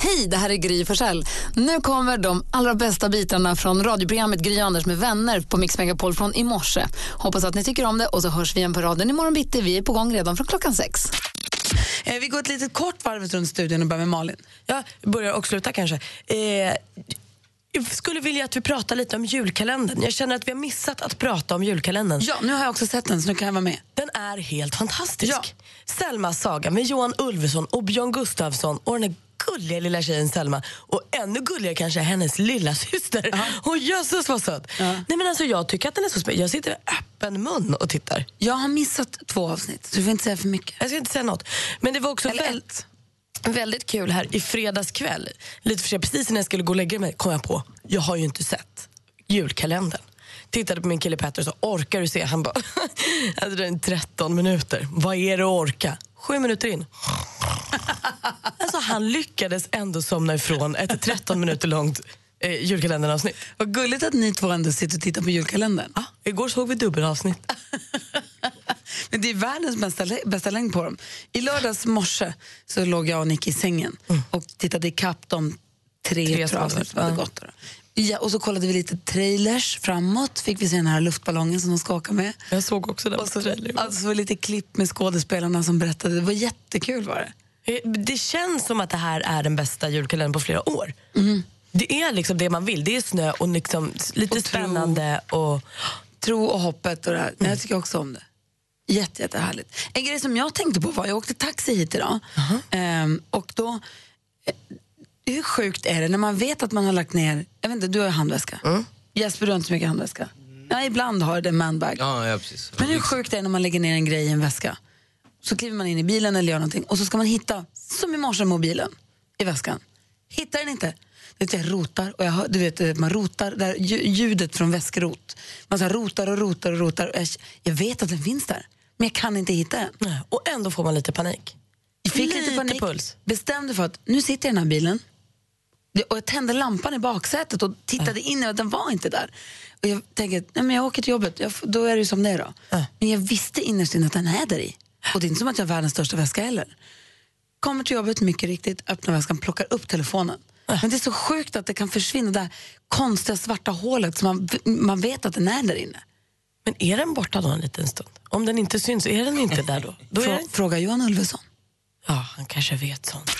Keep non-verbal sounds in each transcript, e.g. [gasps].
Hej, det här är Gry Forssell. Nu kommer de allra bästa bitarna från radioprogrammet Gry Anders med vänner på Mix Megapol från i morse. Hoppas att ni tycker om det och så hörs vi igen på raden imorgon bitti. Vi är på gång redan från klockan sex. Eh, vi går ett litet kort varv runt studion och börjar med Malin. Jag börjar och slutar kanske. Eh, jag skulle vilja att vi pratar lite om julkalendern. Jag känner att vi har missat att prata om julkalendern. Ja, nu har jag också sett den så nu kan jag vara med. Den är helt fantastisk. Ja. Selmas saga med Johan Ulveson och Björn Gustafsson och den här gulliga lilla tjejen Selma och ännu gulligare kanske hennes lilla syster. Och jösses vad söt! Nej, men alltså, jag tycker att den är så spännande. Jag sitter med öppen mun och tittar. Jag har missat två avsnitt så du får inte säga för mycket. Jag ska inte säga något. Men det var också Eller väl- ett. väldigt kul här i fredags kväll. Lite för sig, precis när jag skulle gå och lägga mig kom jag på, jag har ju inte sett julkalendern. Tittade på min kille Petter och sa, orkar du se? Han bara, alltså det är 13 minuter. Vad är det att orka? Sju minuter in. [laughs] Alltså han lyckades ändå somna ifrån ett 13 minuter långt eh, julkalenderavsnitt. Vad gulligt att ni två ändå sitter och tittar på julkalendern. Ja, igår såg vi dubbelavsnitt. [laughs] Men det är världens bästa, bästa längd på dem. I lördags morse så låg jag och Nick i sängen och tittade ikapp de tre, Mm. Tre tre avsnitt, avsnitt som hade ja. gått. då. Ja, och så kollade vi lite trailers framåt, fick vi se den här luftballongen som de ska åka med. Jag såg också den på Och så, trailern. alltså lite klipp med skådespelarna som berättade. Det var jättekul var det. Eh, Det känns som att det här är den bästa julkalendern på flera år. Det är liksom det man vill. Det är snö och liksom s- lite Och tro. spännande. Och, Tro och hoppet och det här. Men Jag tycker också om det. Jätte, jättehärligt. En grej som jag tänkte på var, jag åkte taxi hit idag Ehm, och då, eh, hur sjukt är det när man vet att man har lagt ner, jag vet inte, du har ju handväska. Jesper, du har inte så mycket handväska. Ja, ibland har du det, manbag. Mm. Ja, ja precis. Men hur sjukt är det när man lägger ner en grej i en väska? Så kliver man in i bilen eller gör någonting och så ska man hitta, som i morse, mobilen i väskan. Hittar den inte. Du vet, jag rotar och jag hör, du vet, eh, man rotar, där ljudet från väskrot. Man så här rotar och rotar och rotar. Och jag, jag vet att den finns där, men jag kan inte hitta den. och ändå får man lite panik. Jag fick lite, Lite panik. puls. Bestämde för att nu sitter jag i den här bilen. Det- Och jag tände lampan i baksätet och tittade in och den var inte där. Och jag tänker, att, nej men jag åker till jobbet, jag, får- då är det ju som det är då. Ja. Men jag visste innerst inne att den är där i. Och det är inte som att jag har världens största väska heller. Kommer till jobbet, mycket riktigt, öppnar väskan, plockar upp telefonen. Äh. Men det är så sjukt att det kan försvinna, det där konstiga svarta hålet som man, man vet att den är där inne. Men är den borta då en liten stund? Om den inte syns, är den inte där då? då är Frå, den... fråga Johan Ulveson. Ja, han kanske vet sånt.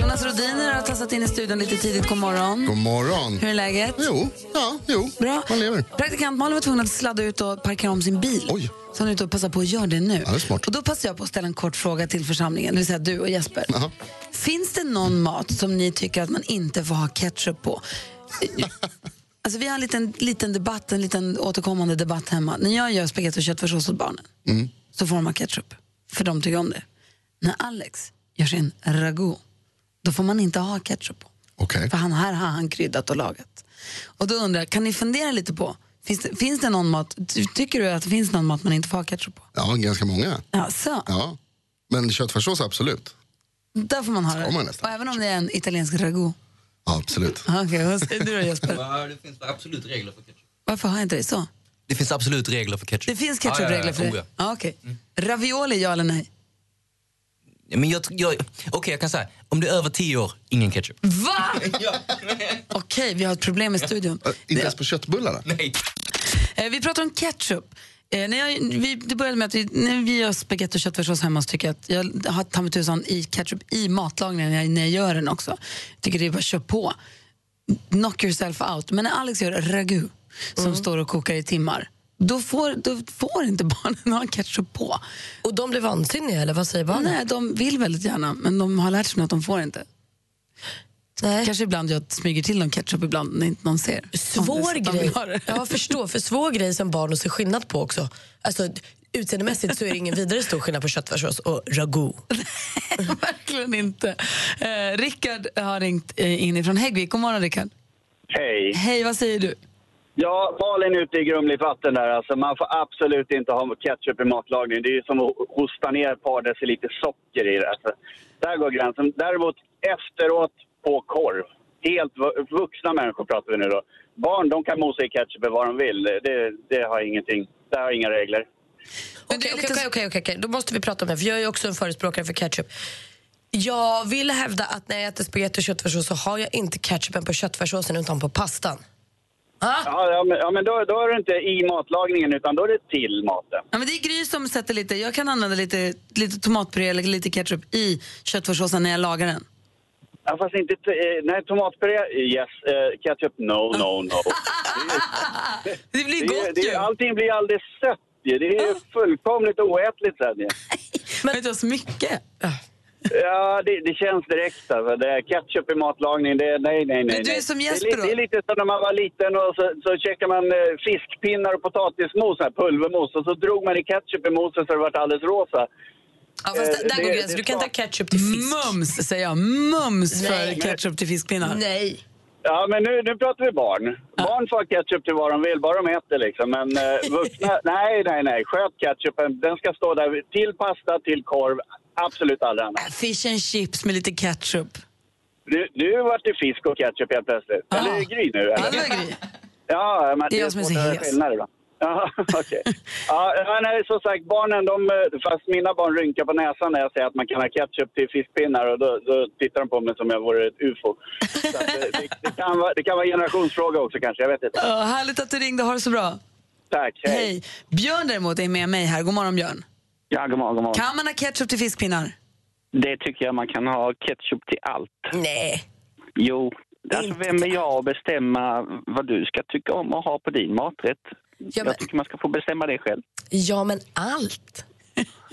Jonas Rodiner har tassat in i studion lite tidigt, god morgon. [laughs] God morgon. Hur är läget? Jo, ja, jo. Bra. Man lever. Praktikant Malin var tvungen att sladda ut och parkera om sin bil. Oj. Så hon är ute och passar på att göra det nu. Ja, det är smart. Och då passar jag på att ställa en kort fråga till församlingen, det vill säga du och Jesper. Jaha. Finns det någon mat som ni tycker att man inte får ha ketchup [laughs] på? alltså, vi har en liten, liten debatt, en liten återkommande debatt hemma. När jag gör spagetti och köttfärssås åt barnen Mm. så får de ha ketchup, för de tycker om det. När Alex gör sin ragout, då får man inte ha ketchup på. Okej. För han här har han kryddat och lagat. Och då undrar jag, kan ni fundera lite på, finns det, finns det någon mat, ty- tycker du att det finns någon mat man inte får ha ketchup på? Ja, ganska många. Ja, så. Ja. Men köttfärssås, absolut. Där får man ha man det. nästan. Och även om det är en italiensk ragout. Ja, absolut. Ja, Okej, vad säger du då Jesper? Ja, det finns absolut regler för ketchup. Varför har jag inte det så? Det finns absolut regler för ketchup. Det finns ketchupregler för Oh, det? Ja, okej. Ravioli, ja eller nej? ja. Men jag, tr- jag, okej, jag kan säga, om det är över 10 år, ingen ketchup. Mm. [laughs] Va? Okej, vi har ett problem i studion. Äh, Inte ens på köttbullarna? Nej. Eh, vi pratar om ketchup. Eh, när jag, vi, det började med att vi, när vi gör spagetti och köttfärssås hemma så tycker jag att jag har ta mig tusan i ketchup i matlagningen när jag, när jag gör den också. Jag tycker det är bara att köra på. Knock yourself out. Men när Alex gör ragu som Mm. står och kokar i timmar då får, då får inte [laughs] barnen ha ketchup på. Och de blir vansinniga, eller vad säger barnen? Nej, de vill väldigt gärna men de har lärt sig nu att de får inte. Nej. Kanske ibland jag smyger till dem ketchup ibland när inte någon ser. Svår Om de grej. vill ha det. Jag förstår, för svår grej som barn att se skillnad på också. Alltså, utseendemässigt så är det ingen vidare stor skillnad på köttfärssås och ragout. [laughs] Verkligen inte. Eh, Rickard har ringt eh, inifrån Häggvik. God morgon, Rickard. Hej. Hej, vad säger du? Ja, Malin är ute i grumligt vatten där. Alltså, man får absolut inte ha ketchup i matlagning. Det är ju som att hosta ner ett par deciliter socker i det. Alltså, där går gränsen. Däremot efteråt på korv. Helt vu- vuxna människor pratar vi nu då. Barn, de kan mosa i ketchupen vad de vill. Det, det har ingenting. Där har inga regler. Men det Okej, är okej, lite okej, okej, okej, okej. Då måste vi prata om det, för jag är ju också en förespråkare för ketchup. Jag vill hävda att när jag äter spagetti och köttfärssås så har jag inte ketchupen på köttfärssåsen utan på pastan. Ah, Ja, ja men, ja, men då, då är det inte i matlagningen, utan då är det till maten. Ja, men det är Gry som sätter lite, jag kan använda lite, lite tomatpuré eller lite ketchup i köttfärssåsen när jag lagar den. Ja, fast inte... t- Eh, nej, tomatpuré, yes. Eh, ketchup, no, no, no. Det blir Det, gott är- det, ju! är- allting blir alldeles sött ju. Det är ju fullkomligt oätligt sen ju. Men inte så mycket. Ja, det, det känns direkt alltså. Det är ketchup i matlagning, det är nej, nej, nej. Men du är nej. som Det Jesper lite- då? Det är lite som när man var liten och så, så käkade man eh, fiskpinnar och potatismos, här, pulvermos, och så drog man i ketchup i moset så det vart alldeles rosa. ja, fast där, Eh, där går det- gränsen. det Du kan inte ha smak- ketchup till fisk. Mm. Mums säger jag, mums för Nej. ketchup till fiskpinnar. Nej. Ja, men nu, nu pratar vi barn. Barn får ha ketchup till vad de vill, bara de äter liksom. Men [laughs] eh, vuxna, nej, nej, nej. Sköt ketchupen. Den ska stå där till pasta, till korv, absolut aldrig annat. Äh, Fish and chips med lite ketchup. Nu, nu vart det fisk och ketchup helt plötsligt. Ah. Eller är det Gry nu? Ja, det Eller? var Gry. Ja, men Det är jag som är så svårt att göra hes. skillnader då. Ja, [laughs] okej. Ja, ja, nej, som sagt, barnen, de, eh, fast mina barn rynkar på näsan när jag säger att man kan ha ketchup till fiskpinnar och då, då tittar de på mig som om jag vore ett ufo. Så att, eh, det, det, kan vara, det kan vara en generationsfråga också kanske, jag vet inte. Ja, härligt att du ringde, ha det så bra. Tack, hej. Hej. Björn däremot är med mig här. God morgon Björn. Ja, god morgon, god morgon. Kan man ha ketchup till fiskpinnar? Det tycker jag man kan ha ketchup till allt. Nej. Jo, alltså vem är jag att bestämma vad du ska tycka om och ha på din maträtt? Ja, men, Jag tycker man ska få bestämma det själv. ja, men allt.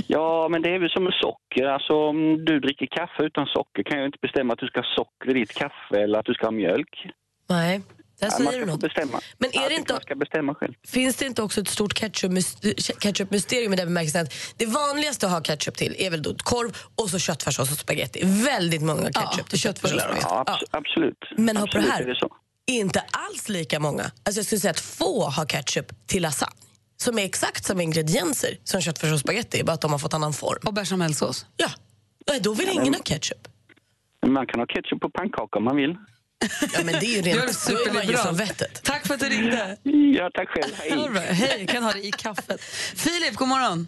Ja, men det är väl som med socker. Alltså, om du dricker kaffe utan socker kan jag ju inte bestämma att du ska ha socker i ditt kaffe eller att du ska ha mjölk. Nej, där Ja, man säger ska du få något. bestämma. Men är Ja, det jag tycker inte- Man ska bestämma själv. Finns det inte också ett stort ketchup- ketchup-mysterium i den bemärkelsen att det vanligaste att ha ketchup till är väl då korv och så köttfärssås och spagetti. Väldigt många ketchup till köttfärssås och spagetti. Ja, Ja. abs- absolut. Men hör på absolut det här. Är det så. Inte alls lika många. Alltså jag skulle säga att få har ketchup till lasagne som är exakt samma ingredienser som köttfärssås och spagetti, bara att de har fått annan form. Och bechamelsås? Ja, Nej, då vill ingen ha ketchup. Men Man kan ha ketchup på pannkaka om man vill. Ja, men det är ju Det var rent... Då är man ju superliberalt. från vettet. Tack för att du ringde. Ja, tack själv. Ja, Hej. bra. Hej, kan ha det i kaffet. Filip, god morgon.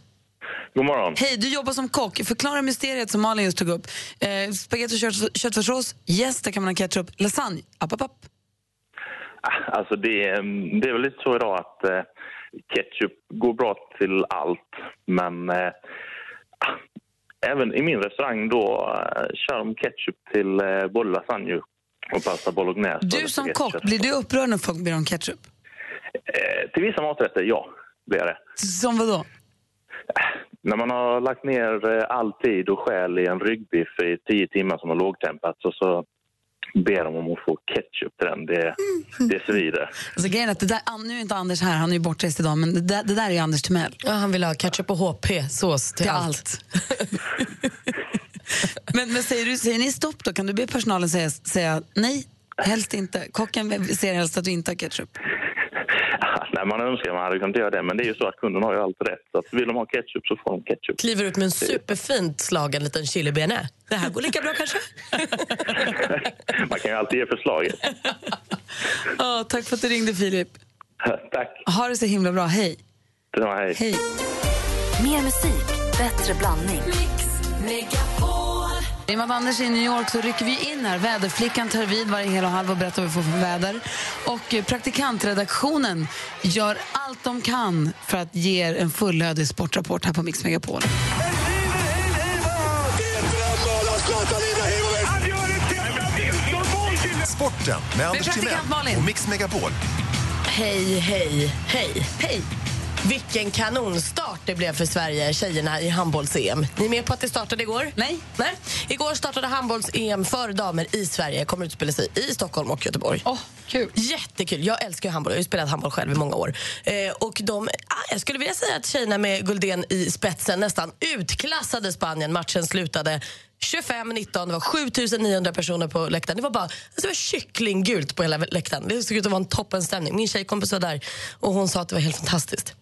God morgon. Hej, du jobbar som kock. Förklara mysteriet som Malin just tog upp. Eh, spagetti och kött, köttfärssås, yes, där kan man ha ketchup. Lasagne, app, app, app. Ah, Alltså det, eh, det är väl lite så idag att eh, ketchup går bra till allt. Men eh, ah, även i min restaurang då eh, kör de ketchup till eh, både lasagne och pasta bolognese. Alltså, Du och som spagetti kock, kött. blir du upprörd när folk ber om ketchup? Eh, till vissa maträtter, ja. Blir jag det. Som vadå? När man har lagt ner eh, all tid och själ i en ryggbiff i tio timmar som har lågtempats och så ber de om att få ketchup till den. Det, Mm. det svider. Alltså, grejen är att det där, an- nu är inte Anders här, han är ju bortrest idag, men det där, det där är ju Anders Timell. Ja, han vill ha ketchup och HP-sås till Till allt. allt. [laughs] men men säger, du, säger ni stopp då? Kan du be personalen säga, säga nej? Helst inte. Kocken ser helst att du inte har ketchup. [laughs] Nej, man önskar man hade kunnat göra det, men det är ju så att kunden har ju alltid rätt. Så att vill de ha ketchup så får de ketchup. Kliver ut med en superfint slagen liten chilibena. Det här går lika bra kanske? Man kan ju alltid ge förslaget. [laughs] Ja, tack för att du ringde, Filip. Tack. Ha det så himla bra. Hej. Det var hej. Hej. Mer musik, bättre blandning. I och med att Anders är i New York så rycker vi in här. Väderflickan tar vid varje hel och halv och berättar vad vi får för väder. Och eh, praktikantredaktionen gör allt de kan för att ge er en fullödig sportrapport här på Mix Megapol. Sporten med Anders praktikant Malin. Timell och Mix Megapol. Hej, hej, hej, hej. Vilken kanonstart det blev för Sverige, tjejerna i handbolls-EM. Ni är med på att det startade igår? Nej. Nej. Igår startade handbolls-EM för damer i Sverige. Kommer utspela sig i Stockholm och Göteborg. Åh, kul. Jättekul. Jag älskar ju handboll. Jag har ju spelat handboll själv i många år. Eh, och de, ah, jag skulle vilja säga att tjejerna med Guldén i spetsen nästan utklassade Spanien. Matchen slutade 25-19, det var 7900 personer på läktaren. Det var bara alltså det var kycklinggult på hela läktaren. Det såg ut att vara en toppenstämning. Min tjejkompis var där och hon sa att det var helt fantastiskt.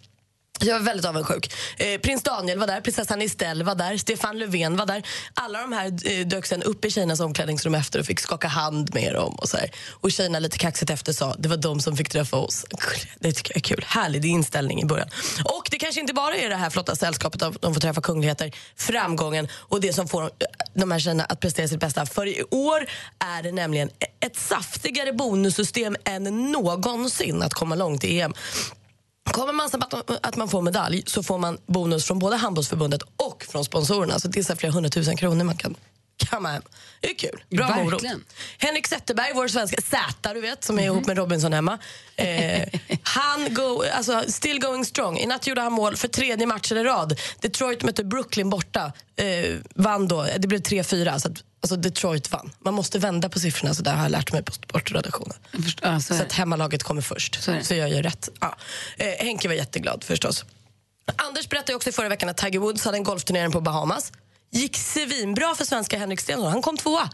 Jag var väldigt avundsjuk. Eh, prins Daniel var där, prinsessan Estelle var där, Stefan Löfven var där. Alla de här eh, dök sen upp i tjejernas omklädningsrum efter och fick skaka hand med dem. Och, så här. och tjejerna lite kaxigt efter sa det var de som fick träffa oss. [laughs] Det tycker jag är kul. Härlig inställning i början. Och det kanske inte bara är det här flotta sällskapet av de får träffa kungligheter, framgången och det som får eh, de här tjejerna att prestera sitt bästa. För i år är det nämligen ett saftigare bonussystem än någonsin att komma långt i EM. Kommer man snabbt att- att man får medalj så får man bonus från både handbollsförbundet och från sponsorerna. Så det är så här flera hundratusen kronor man kan kamma hem. Det är kul. Bra Verkligen. morot. Henrik Zetterberg, vår svenska Z, du vet, som är ihop med Robinson hemma. [laughs] Eh, han go, alltså, still going strong. I natt gjorde han mål för tredje matchen i rad. Detroit mötte Brooklyn borta. Eh, vann då. Det blev 3-4. Så att, alltså Detroit vann. Man måste vända på siffrorna, så där har jag lärt mig på sportredaktionen. så att hemmalaget kommer först. Så, jag gör rätt. Ja. Eh, Henke var jätteglad förstås. Anders berättade ju också i förra veckan att Tiger Woods hade en golfturnering på Bahamas. Gick svinbra för svenska Henrik Stenson. Han kom tvåa.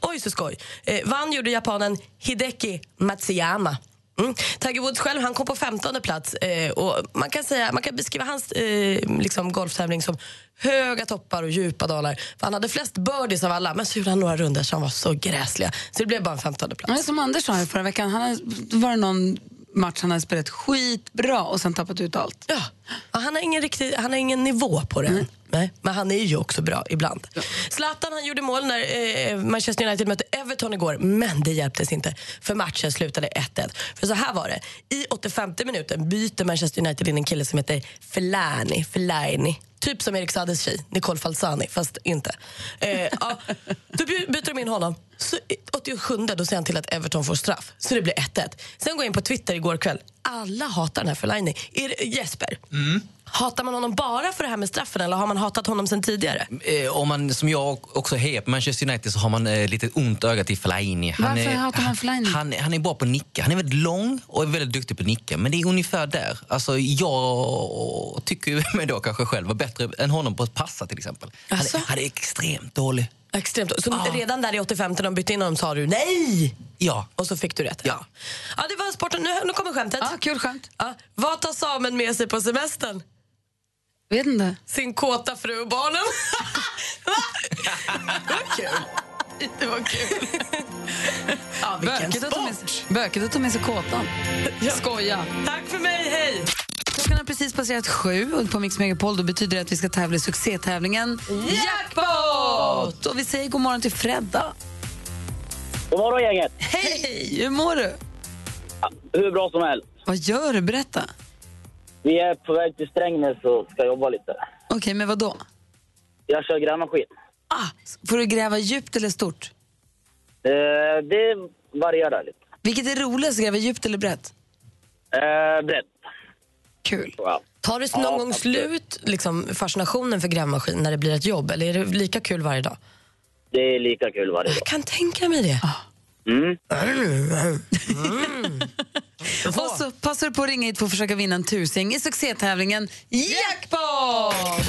Oj, så skoj. Eh, vann gjorde japanen Hideki Matsuyama. Mm. Tiger Woods själv han kom på 15 plats. Eh, och man, kan säga, man kan beskriva hans eh, liksom golftävling som höga toppar och djupa dalar. För han hade flest birdies av alla, men så gjorde han några runder som var så gräsliga. Så det blev bara en 15 plats. Nej, som Anders sa här förra veckan, han hade, det var någon match han hade spelat skitbra och sen tappat ut allt. Ja, och han har ingen, riktig, han har ingen nivå på Mm. det. Nej, men han är ju också bra ibland. Zlatan han gjorde mål när eh, Manchester United mötte Everton igår, men det hjälptes inte för matchen slutade 1-1. För så här var det, i 85 minuten byter Manchester United in en kille som heter Fellaini, Fellaini. Typ som Erik Saades tjej, Nicole Falzani, fast inte. Eh, ja, då by- byter de in honom. Så i 87 då ser han till att Everton får straff, så det blir 1-1. Sen går jag in på Twitter igår kväll. Alla hatar den här Fellaini. Är det, Jesper, hatar man honom bara för det här med straffen eller har man hatat honom sen tidigare? Eh, om man som jag också hejar på Manchester United så har man eh, lite ont öga till Fellaini. Varför är, hatar man Fellaini? Han, han är bra på att nicka. Han är väldigt lång och är väldigt duktig på att nicka. Men det är ungefär där. Alltså, jag tycker ju [laughs] mig då kanske själv vara bättre än honom på att passa till exempel. Han, Alltså? är- han är extremt dålig. Extremt. Så redan där i 85 när de bytte in honom sa du nej! Ja. Och så fick du rätt. Ja. Ja, det var sporten. Nu, nu kommer skämtet. Ja, kul skämt. Ja. Vad tar Samen med sig på semestern? Vet inte. Sin kåta fru och barnen. det var kul. [laughs] Det var kul. [laughs] ja, vilken Bökigt att ta sport! med sig- Bökigt att ta med sig kåtan. Skoja. Tack för mig, hej! Klockan har precis passerat sju och på Mix Megapol då betyder det att vi ska tävla i succétävlingen Jackpot! Och vi säger god morgon till Fredda. God morgon gänget! Hej! Hur mår du? Hur bra som helst. Vad gör du? Berätta. Vi är på väg till Strängnäs och ska jobba lite. Okej, men vad då? Jag kör grävmaskin. Får du gräva djupt eller stort? Eh, det varierar lite. Vilket är roligast, gräva djupt eller brett? Eh, brett. Kul. Tar det någon Ja, gång absolut. slut liksom, fascinationen för grävmaskin när det blir ett jobb eller är det lika kul varje dag? Det är lika kul varje dag. Jag kan tänka mig Ah. det. Mm. Och så passar du på att ringa hit för att försöka vinna en tusing i succétävlingen Jackpot!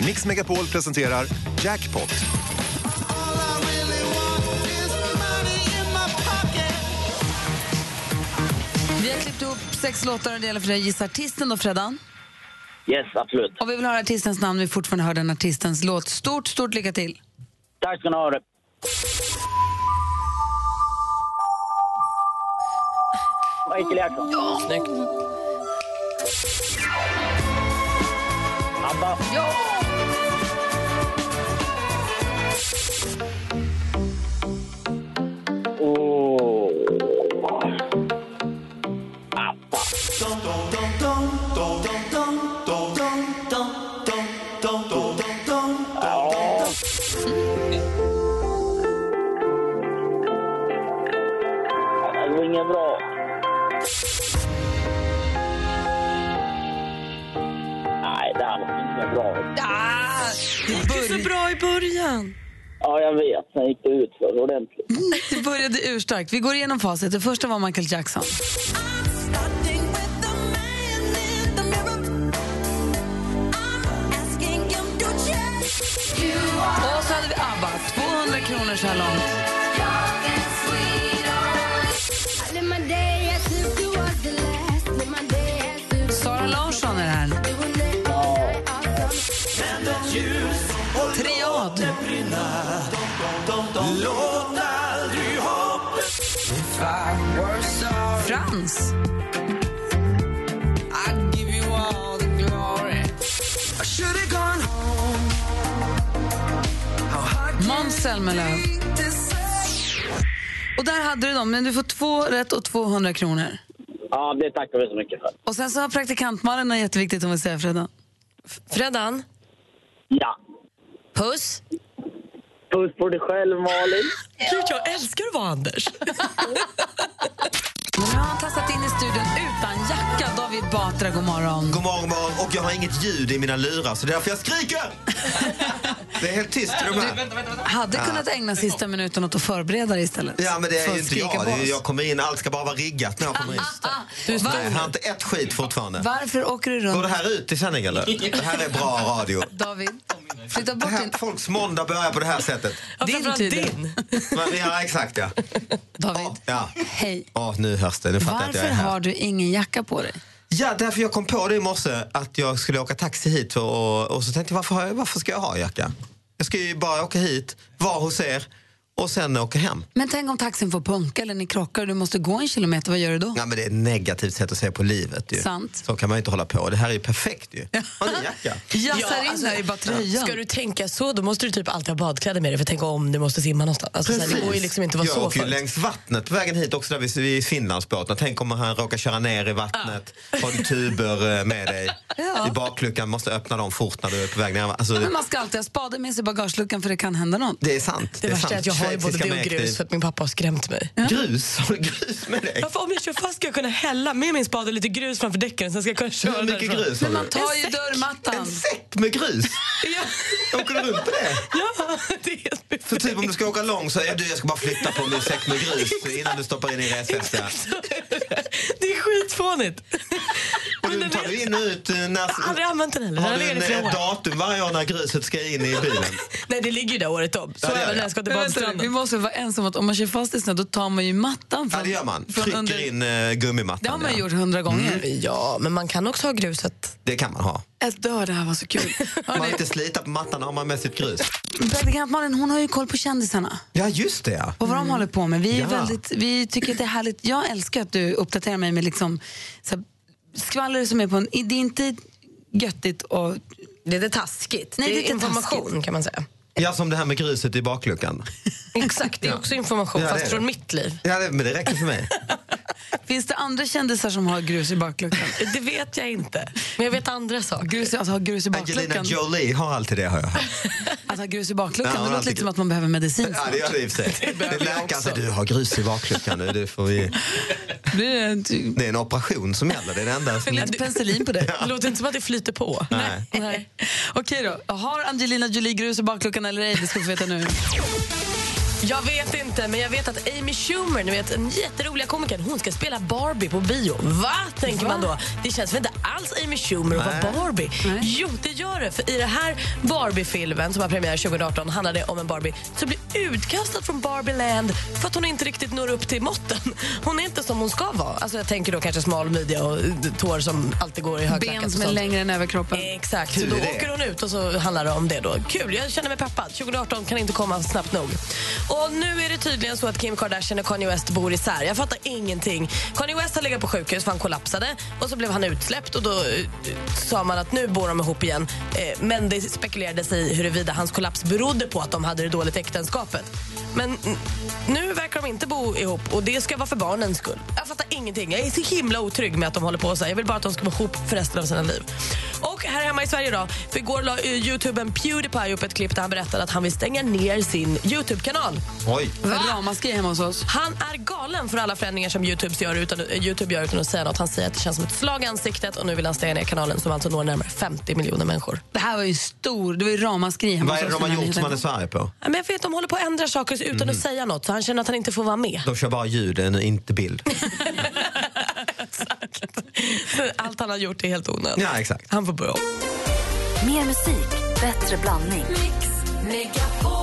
Mix Megapol presenterar Jackpot. Vi har klippt ihop sex låtar och det gäller för dig att gissa artisten då, Freddan. Yes, absolut. Och vi vill höra artistens namn, vi fortfarande hör den artistens låt. Stort, stort lycka till! [laughs] Tack ska ni ha. Michael Jackson. Ja. Snyggt. ABBA. Ja. Oh. Det går inget bra. Nej, det här var inget bra. Det gick ju så bra i början. Ja, jag vet. Sen gick det ut för ordentligt. Det började urstarkt. Vi går igenom facit. Det första var Michael Jackson. Och så hade vi Sara Larsson är det här. Triad. Frans. Måns Zelmerlöw. Och där hade du dem, men du får två rätt och 200 kronor. Ja, det tackar vi så mycket för. Och sen så har praktikant-Malin något jätteviktigt hon vill säga, Freddan. Freddan? Ja. Puss. Puss på dig själv, Malin. Gud, jag älskar att vara Anders. Nu har han tassat in i studion utan jacka. David Batra, god morgon. God morgon, god morgon. Och jag har inget ljud i mina lurar, så det är därför jag skriker! Det är helt tyst i de här. Hade kunnat ägna sista minuten åt att förbereda dig istället. Ja, men det är För ju att inte skrika på jag. Det är- oss. Jag kommer in, allt ska bara vara riggat när jag kommer in. Du Nej, var, jag har inte ett skit fortfarande. varför åker du Går det runt, här ut i sändning eller? Det här är bra radio. David? Flytta bort din... Folks måndag börjar på det här sättet. Din tid. Men, ja, exakt ja. David, Ja, hej. Ja, nu hörs det. Nu fattar jag att jag Varför är här. har du ingen jacka på dig? Ja, därför jag kom på det i morse att jag skulle åka taxi hit och, och så tänkte jag varför, har jag, varför ska jag ha jacka? Jag ska ju bara åka hit, vara hos er och sen åka hem. Men tänk om taxin får punka eller ni krockar och du måste gå en kilometer, vad gör du då? Ja, men det är ett negativt sätt att se på livet. Ju. Sant. Så kan man ju inte hålla på. Det här är ju perfekt ju. Har ni jacka? Jassar in där i bara tröjan. alltså, Ska du tänka så, då måste du typ alltid ha badkläder med dig. För tänk om du måste simma någonstans. Alltså, så här, det går ju liksom inte att vara jag så åker ju förut. längs vattnet på vägen hit också där vid, vid Finlandsbåten. Tänk om han råkar köra ner i vattnet. Har du tuber eh, med dig Ja. i bakluckan. Måste öppna dem fort när du är på väg ner. Alltså, Men man ska alltid ha spaden med sig i bagageluckan för det kan hända något. det är sant. Det, värsta är sant. att jag har ju både Schweiziska det och grus mäktig- för att min pappa har skrämt mig. Grus? Har du grus med dig? Varför, om jag kör fast ska jag kunna hälla med min spade lite grus framför däcken sen ska jag kunna köra Hur mycket därifrån. grus har Men man du? tar ju dörrmattan. En säck med grus? ja. [laughs] Åker du runt på det? Ja, det är helt För typ om du ska åka lång så är du, jag ska bara flytta på min säck med grus innan du stoppar in i resväska. Det är skitfånigt. Och du tar du in och ut eh, när... Jag har aldrig använt den heller. Den Har har du en, eh, legat i flera ett år. datum varje år när gruset ska in i bilen? Nej, det ligger ju där året om. Så Ja, det gör även jag. när jag ska till Men vänta, nu, vi badstranden. måste vara ensamma att om man kör fast i snö då tar man ju mattan från, Ja, det gör man. från Trycker under. in eh, gummimattan. Det har man ja. Mm. ju gjort hundra gånger. Ja, men man kan också ha gruset. Det kan [laughs] man ha. Jag dör, det här var så kul. Man vill inte slita på mattan har man med sitt grus. Praktikant Malin, hon har ju koll på kändisarna. Ja, just det ja. Och vad de håller på med. Vi, är Mm. Ja. väldigt, vi tycker att det är härligt. Jag älskar att du uppdaterar mig med liksom, så här, skvaller som är på en... Det är inte göttigt och... Det är lite taskigt. Nej, det är det är inte information taskigt. kan man säga. Ja, som det här med gruset i bakluckan. Exakt, det är också information Ja, det fast är det. från mitt liv. Ja, det, men det räcker [laughs] för mig. Finns det andra kändisar som har grus i bakluckan? [laughs] Det vet jag inte. Men jag vet andra saker. Grus, alltså har grus i Angelina bakluckan? Jolie har alltid det har jag hört. Att ha grus i Ja, bakluckan, hon det har låter alltid lite som grus. att man behöver medicin. Ja, det gör det i och för sig. Det är läkaren säger du har grus i bakluckan nu. Det, får vi... Blir det en ty- det är en operation som gäller. Det är det enda som... lite penicillin [laughs] på det? Det låter inte som att det flyter på. Nej. Nej. Okej då, har Angelina Jolie grus i bakluckan eller ej? Det ska vi få veta nu. Jag vet inte, men jag vet att Amy Schumer, ni vet, den jätteroliga komikern, hon ska spela Barbie på bio. Va? Tänker man då. Det känns väl inte alls Amy Schumer att vara Nej. Barbie? Jo, det gör det. För i den här Barbie-filmen som har premiär 2018 handlar det om en Barbie som blir utkastad från Barbie-land för att hon inte riktigt når upp till måtten. Hon är inte som hon ska vara. Alltså, jag tänker då kanske smal midja och eh, tår som alltid går i högklackat. Ben och som är sånt. längre än överkroppen. Exakt, så Tur då är det. åker hon ut och så handlar det om det då. Kul, jag känner mig peppad. 2018 kan inte komma snabbt nog. Och nu är det tydligen så att Kim Kardashian och Kanye West bor isär. Jag fattar ingenting. Kanye West har legat på sjukhus för han kollapsade och så blev han utsläppt och då eh, sa man att nu bor de ihop igen. Eh, Men det spekulerades i huruvida hans kollaps berodde på att de hade det dåligt i äktenskapet. Men mm, nu verkar de inte bo ihop och det ska vara för barnens skull. Jag fattar ingenting. Jag är så himla otrygg med att de håller på så här. Jag vill bara att de ska vara ihop för resten av sina liv. Och här hemma i Sverige då. För igår la eh, youtubern Pewdiepie upp ett klipp där han berättade att han vill stänga ner sin Youtube-kanal. Oj. Ramaskri hemma hos oss. Han är galen för alla förändringar som YouTube gör, utan, eh, YouTube gör utan att säga något. Han säger att det känns som ett slag i ansiktet och nu vill han stänga ner kanalen som alltså når närmare 50 miljoner människor. Det här var ju stor, det var ju ramaskri hemma Vad är det hos oss. de har när den här gjort som man är nyheten svar på? Ja, Men jag vet, de håller på att ändra saker utan att säga något så han känner att han inte får vara [laughs] med. De kör bara ljuden och inte bild. Allt han har gjort är helt onödigt. Ja, exakt. Han får börja om. Mer musik, bättre blandning. kom.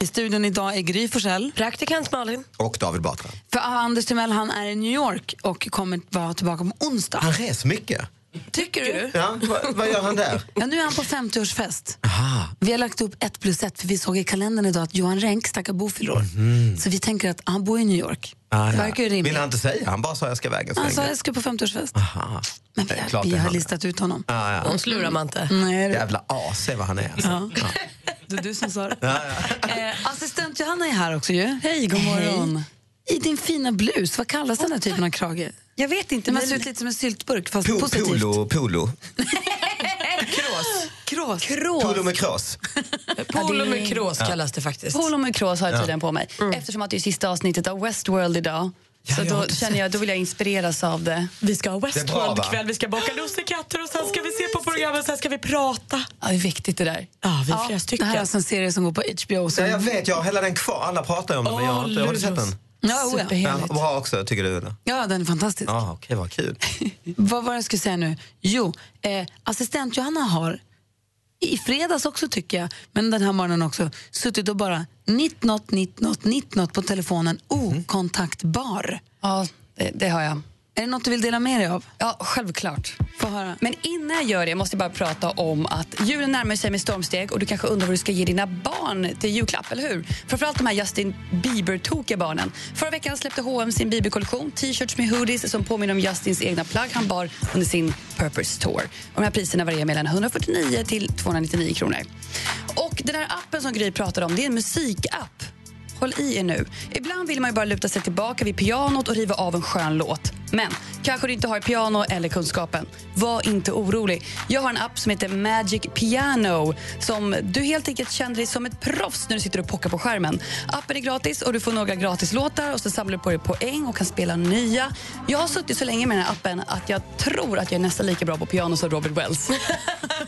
I studion idag är Gry Forssell. Praktikant Malin. Och David Batra. För Anders Timell han är i New York och kommer vara tillbaka på onsdag. Han reser mycket. Tycker du? Ja, vad- vad gör han där? Ja, nu är han på 50-årsfest. Aha. Vi har lagt upp ett plus ett för vi såg i kalendern idag att Johan Renck stackar bo fyller år. Så vi tänker att han bor i New York. Mm. Ah, det ja. verkar ju rimligt. Vill han inte säga? Han bara sa jag ska iväg en sväng. Han sa jag ska på 50-årsfest. Aha. Men vi, Ah, Klart Vi det är har han. listat ut honom. Ah, ja. De slurar man inte. Mm. Nej, det- Jävla as, se vad han är. Alltså. Ja. Det är du som sa det. Ja, Eh, assistent Johanna är här också ju. Hej, god morgon. I din fina blus, vad kallas den här typen av krage? Jag vet inte. Den ser ut lite som en syltburk fast Po- positivt. Polo, polo. Krås. Krås. Polo med krås. Polo med krås Ja. kallas det faktiskt. Polo med krås har jag Ja. tiden på mig. Mm. Eftersom att det är sista avsnittet av Westworld idag. så jag har då inte känner jag, då vill jag inspireras av det. Vi ska ha Det är bra, va? Westworld-kväll, vi ska baka lussekatter och sen ska vi se på programmet, sen ska vi prata. Ja, det är viktigt det där. Ja, vi är flera stycken. Det här är alltså en serie som går på HBO. Så Ja, jag vet, jag har hela den kvar. Alla pratar ju om den, men jag har, inte, har du sett den? Ja, oja. Ja, bra också, tycker du? eller? Ja, den är fantastisk. Ja, okej, vad kul. Vad var det jag skulle säga nu? Jo, eh, assistent Johanna har i fredags också tycker jag, men den här morgonen också, suttit och bara nitt något, nitt något, nitt något på telefonen, okontaktbar. Ja, Eh, det, det har jag. Är det något du vill dela med dig av? Ja, självklart. Få höra. Men innan jag gör det måste jag bara prata om att julen närmar sig med stormsteg och du kanske undrar vad du ska ge dina barn till julklapp, eller hur? Framförallt de här Justin Bieber-tokiga barnen. Förra veckan släppte H&M sin Bieber-kollektion, t-shirts med hoodies som påminner om Justins egna plagg han bar under sin Purpose Tour. Och de här priserna varierar mellan 149 till 299 kronor. Och den här appen som Gry pratade om, det är en musikapp. Håll i er nu. Ibland vill man ju bara luta sig tillbaka vid pianot och riva av en skön låt. Men kanske du inte har piano eller kunskapen. Var inte orolig. Jag har en app som heter Magic Piano som du helt enkelt känner dig som ett proffs när du sitter och pockar på skärmen. Appen är gratis och du får några gratislåtar och så samlar du på dig poäng och kan spela nya. Jag har suttit så länge med den här appen att jag tror att jag är nästan lika bra på piano som Robert Wells.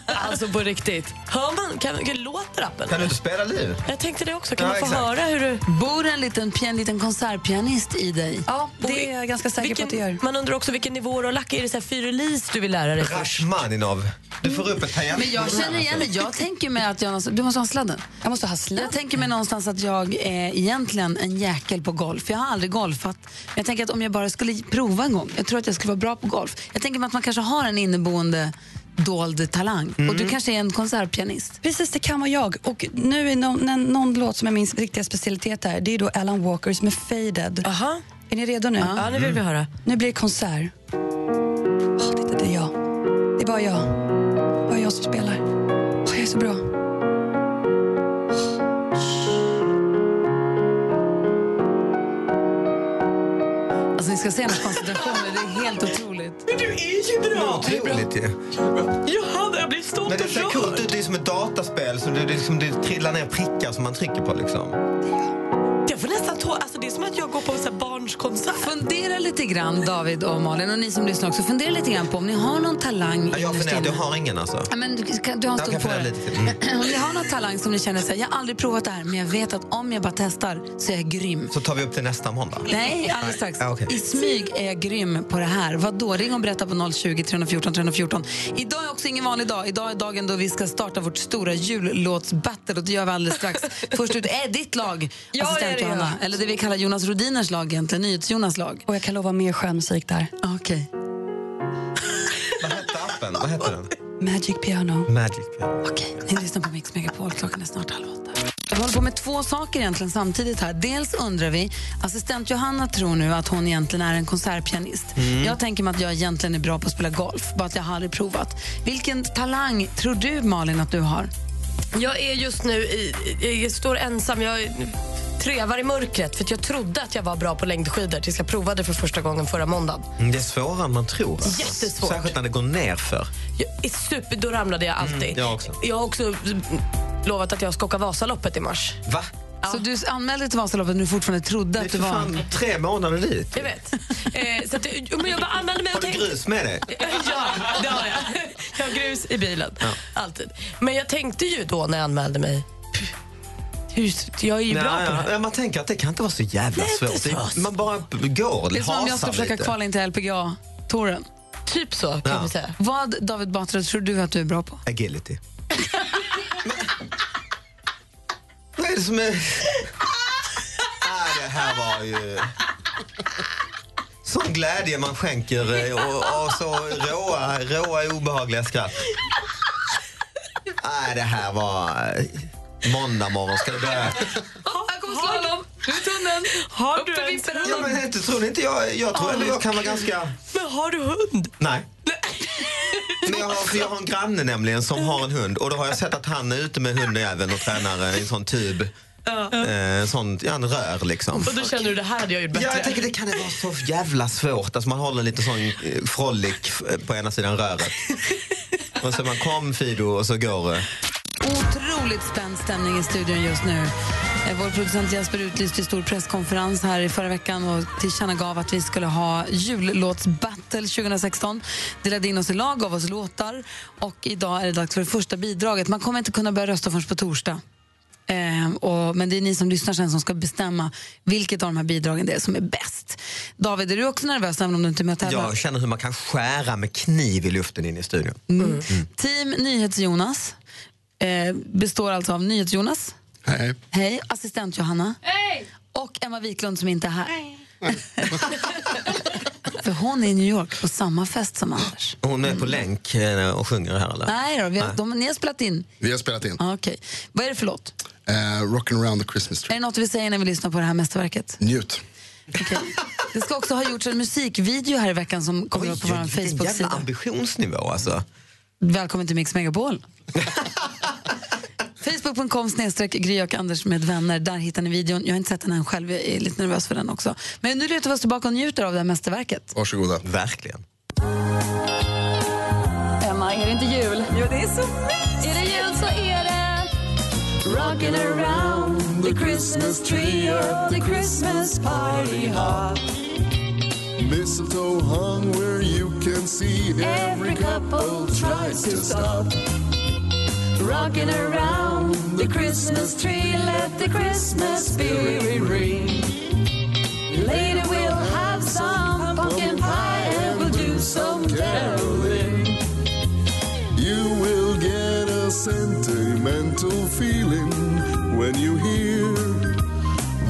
alltså på riktigt. Hör man, kan, kan, låter appen? Kan du inte spela nu? Jag tänkte det också, kan Ja, man få exakt. höra hur du... Bor en liten, en liten konsertpianist i dig? Ja, det är jag ganska säker vilken, på att det gör. Man undrar också vilken nivå du har lackat. Är det så här fyrilis du vill lära dig först? Rachmaninov. Du får upp ett tangent. Men jag känner igen det. Jag tänker mig att jag... någonstans- Du måste ha sladden. Jag måste ha sladden. Jag tänker mig någonstans att jag är egentligen en jäkel på golf. Jag har aldrig golfat. Men Jag tänker att om jag bara skulle prova en gång. Jag tror att jag skulle vara bra på golf. Jag tänker mig att man kanske har en inneboende dold talang. Och du kanske är en konsertpianist. Mm. Precis, det kan vara jag. Och nu är någon, någon, någon låt som är min riktiga specialitet här. Det är då Alan Walkers med Faded. Aha. Är ni redo nu? Ja, nu Mm. vill vi höra. Nu blir det konsert. Åh, titta, det är jag. Det är bara jag. Bara jag som spelar. Åh, jag är så bra. Alltså ni ska se hennes koncentrationer. Det är helt otroligt. Men du är ju bra! Otroligt ju. Johanna, jag blir stolt Men det och ser rörd. coolt ut. Det är som ett dataspel. Så det, det, liksom, det trillar ner prickar som man trycker på. Liksom. Jag får nästan tå... Alltså, det är som att jag går på en sån här barnskonsert. Fundera lite grann, David och Malin, och ni som lyssnar också. Fundera lite grann på om ni har någon talang Ja, jag innerst funderar. inne. Jag har ingen alltså. Ja, men du, kan, du har en Jag stund kan på fundera det. lite till. Mm. Om ni har någon talang som ni känner så här, jag har aldrig provat det här, men jag vet att om jag bara testar så är jag grym. Så tar vi upp det nästa måndag. Nej, alldeles strax. Ja, okej. I smyg är jag grym på det här. Vad då? Ring och berätta på 020 314 314. Idag är också ingen vanlig dag. Idag är dagen då vi ska starta vårt stora jullåtsbattle och det gör vi [laughs] alldeles strax. Först ut är ditt lag, Ja, det är det, Johanna. ja. Eller det vi kallar Jonas Rodiners lag egentligen, NyhetsJonas lag. Ah, Och jag kan lova mer skön musik där. Okej. Appen, vad heter den? Magic piano. Magic Piano. Okej, ni lyssnar på Mix Megapol. Klockan är snart halv åtta. Vi håller på med två saker egentligen samtidigt här. Dels undrar vi, assistent Johanna tror nu att hon egentligen är en konsertpianist. Mm. Jag tänker mig att jag egentligen är bra på att spela golf, bara att jag har aldrig provat. Vilken talang tror du Malin att du har? Jag är just nu i, i- jag står ensam. Jag trevar i mörkret för att jag trodde att jag var bra på längdskidor tills jag provade för första gången förra måndagen. Mm, Det är svårare än man tror. alltså. Jättesvårt. Särskilt när det går ner för. Jag är super, då ramlade jag alltid. Mm, jag också. Jag har också mm, lovat att jag ska åka Vasaloppet i mars. Va? Så du anmälde till Vasaloppet när du fortfarande trodde att du var... Fan, tre månader dit. Jag vet. Eh, så att, jo, men jag bara anmälde mig Har och du tänkte... grus med dig? [laughs] ja, det har jag. Jag har grus i bilen. Alltid. Men jag tänkte ju då när jag anmälde mig... "Pff, hur- Jag är ju Nej, bra på det ja, här. ja, Man tänker att det kan inte vara så jävla svårt. Det- Man bara går Det är som om jag hasar ska försöka lite. [laughs] kvala in till LPGA-touren. Typ så kan Ja. vi säga. Vad, David Batra, tror du att du är bra på? [laughs] Agility. Vad är det som är... Ah, det här var ju... sån glädje man skänker eh, och, och så råa, råa obehagliga skratt. Nej, det här var... eh, Måndag morgon ska det börja. Här kommer slalom, ut hunden, Har [laughs] du upp i en vippen. Ja, men inte, tror ni inte jag... Jag tror ändå jag kan vara ganska... Men har du hund? [laughs] Nej. Men jag, har, för jag har en granne nämligen som har en hund och då har jag sett att han är ute med hunden även och tränar i en sån tub. Eh, en sån, ja, en rör liksom. Och då känner du det här hade jag gjort bättre. Ja, jag tänker det kan det vara så jävla svårt. Alltså man håller en liten sån eh, frolic eh, på ena sidan röret. Och så man kom Fido och så går eh, Otroligt spänd stämning i studion just nu. Eh, Vår producent Jesper utlyste stor presskonferens här i förra veckan och tillkännagav att vi skulle ha jullåtsbattle 2016. Delade in oss i lag, gav oss låtar och idag är det dags för det första bidraget. Man kommer inte kunna börja rösta förrän på torsdag. Eh, och, men det är ni som lyssnar sen som ska bestämma vilket av de här bidragen det är som är bäst. David, är du också nervös även om du inte är med och tävlar? Jag känner hur man kan skära med kniv i luften in i studion. Mm. Team NyhetsJonas eh, består alltså av NyhetsJonas. Hej. Hej, assistent Johanna. Hej! Och Emma Wiklund som inte är här. [laughs] För hon är i New York på samma fest som Anders. Hon är på länk eh, Mm. och sjunger här eller? Nej då, vi har, Nej. de, ni har spelat in. Vi har spelat in. Ah, Okej. Vad är det för låt? Eh, Rockin' around the Christmas Är tree. det något vi säger när vi lyssnar på det här mästerverket? Njut. Det ska också ha gjorts en musikvideo här i veckan som kommer upp på vår Jävla Facebook-sida. ambitionsnivå alltså. Välkommen till Mix [laughs] Megapol. Facebook.com snedstreck Gry och Anders med vänner. Där hittar ni videon. Jag har inte sett den än själv. Jag är lite nervös för den också. Men nu lutar vi oss tillbaka och njuter av det här mästerverket. Varsågoda. Verkligen. Emma, är det inte jul? Jo, det är så mysigt! Är det jul så är det... Rockin' around the Christmas tree the Christmas party hop Mistletoe hung where you can see every couple tries to stop. Rockin' around the Christmas tree Let the Christmas spirit ring Later we'll have some pumpkin pie And we'll do some caroling You will get a sentimental feeling when you hear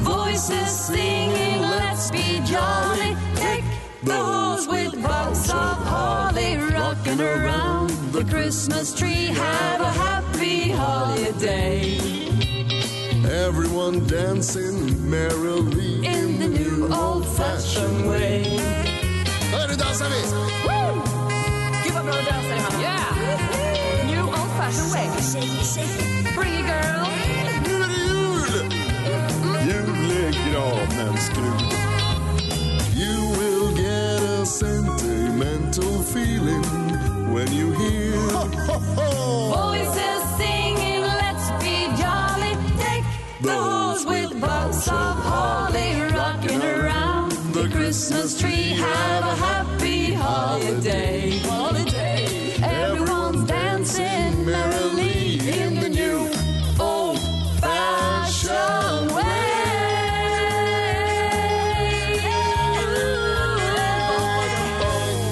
Voices singing, let's be jolly. Take the halls with rocks of holly. Rocking around the Christmas tree, have a happy holiday. everyone dancing merrily in the new old-fashioned way. Hörru, dansar vi! Gud vad bra du dansar, Johanna. Yeah! New old fashioned way. Pretty girl. Nu är det jul! Julegranen skrud. You will get a sentimental feeling when you hear Voices singing, let's be jolly. Take the halls with rocks of holly. Rocking around the Christmas tree, have a happy holiday. Holiday. Everyone's dancing merrily in the new old fashioned way.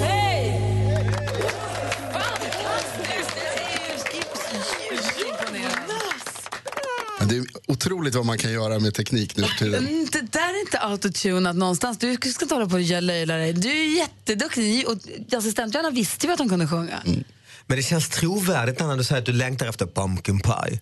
Hey! Men Det är otroligt vad man kan göra med teknik nu för tiden. Mm, Det där är inte autotunat någonstans. Du ska inte hålla på och göra löjla dig. Du är jätteduktig. Och assistent Johanna visste ju att hon kunde sjunga. Mm, Men det känns trovärdigt när du säger att du längtar efter pumpkin pie.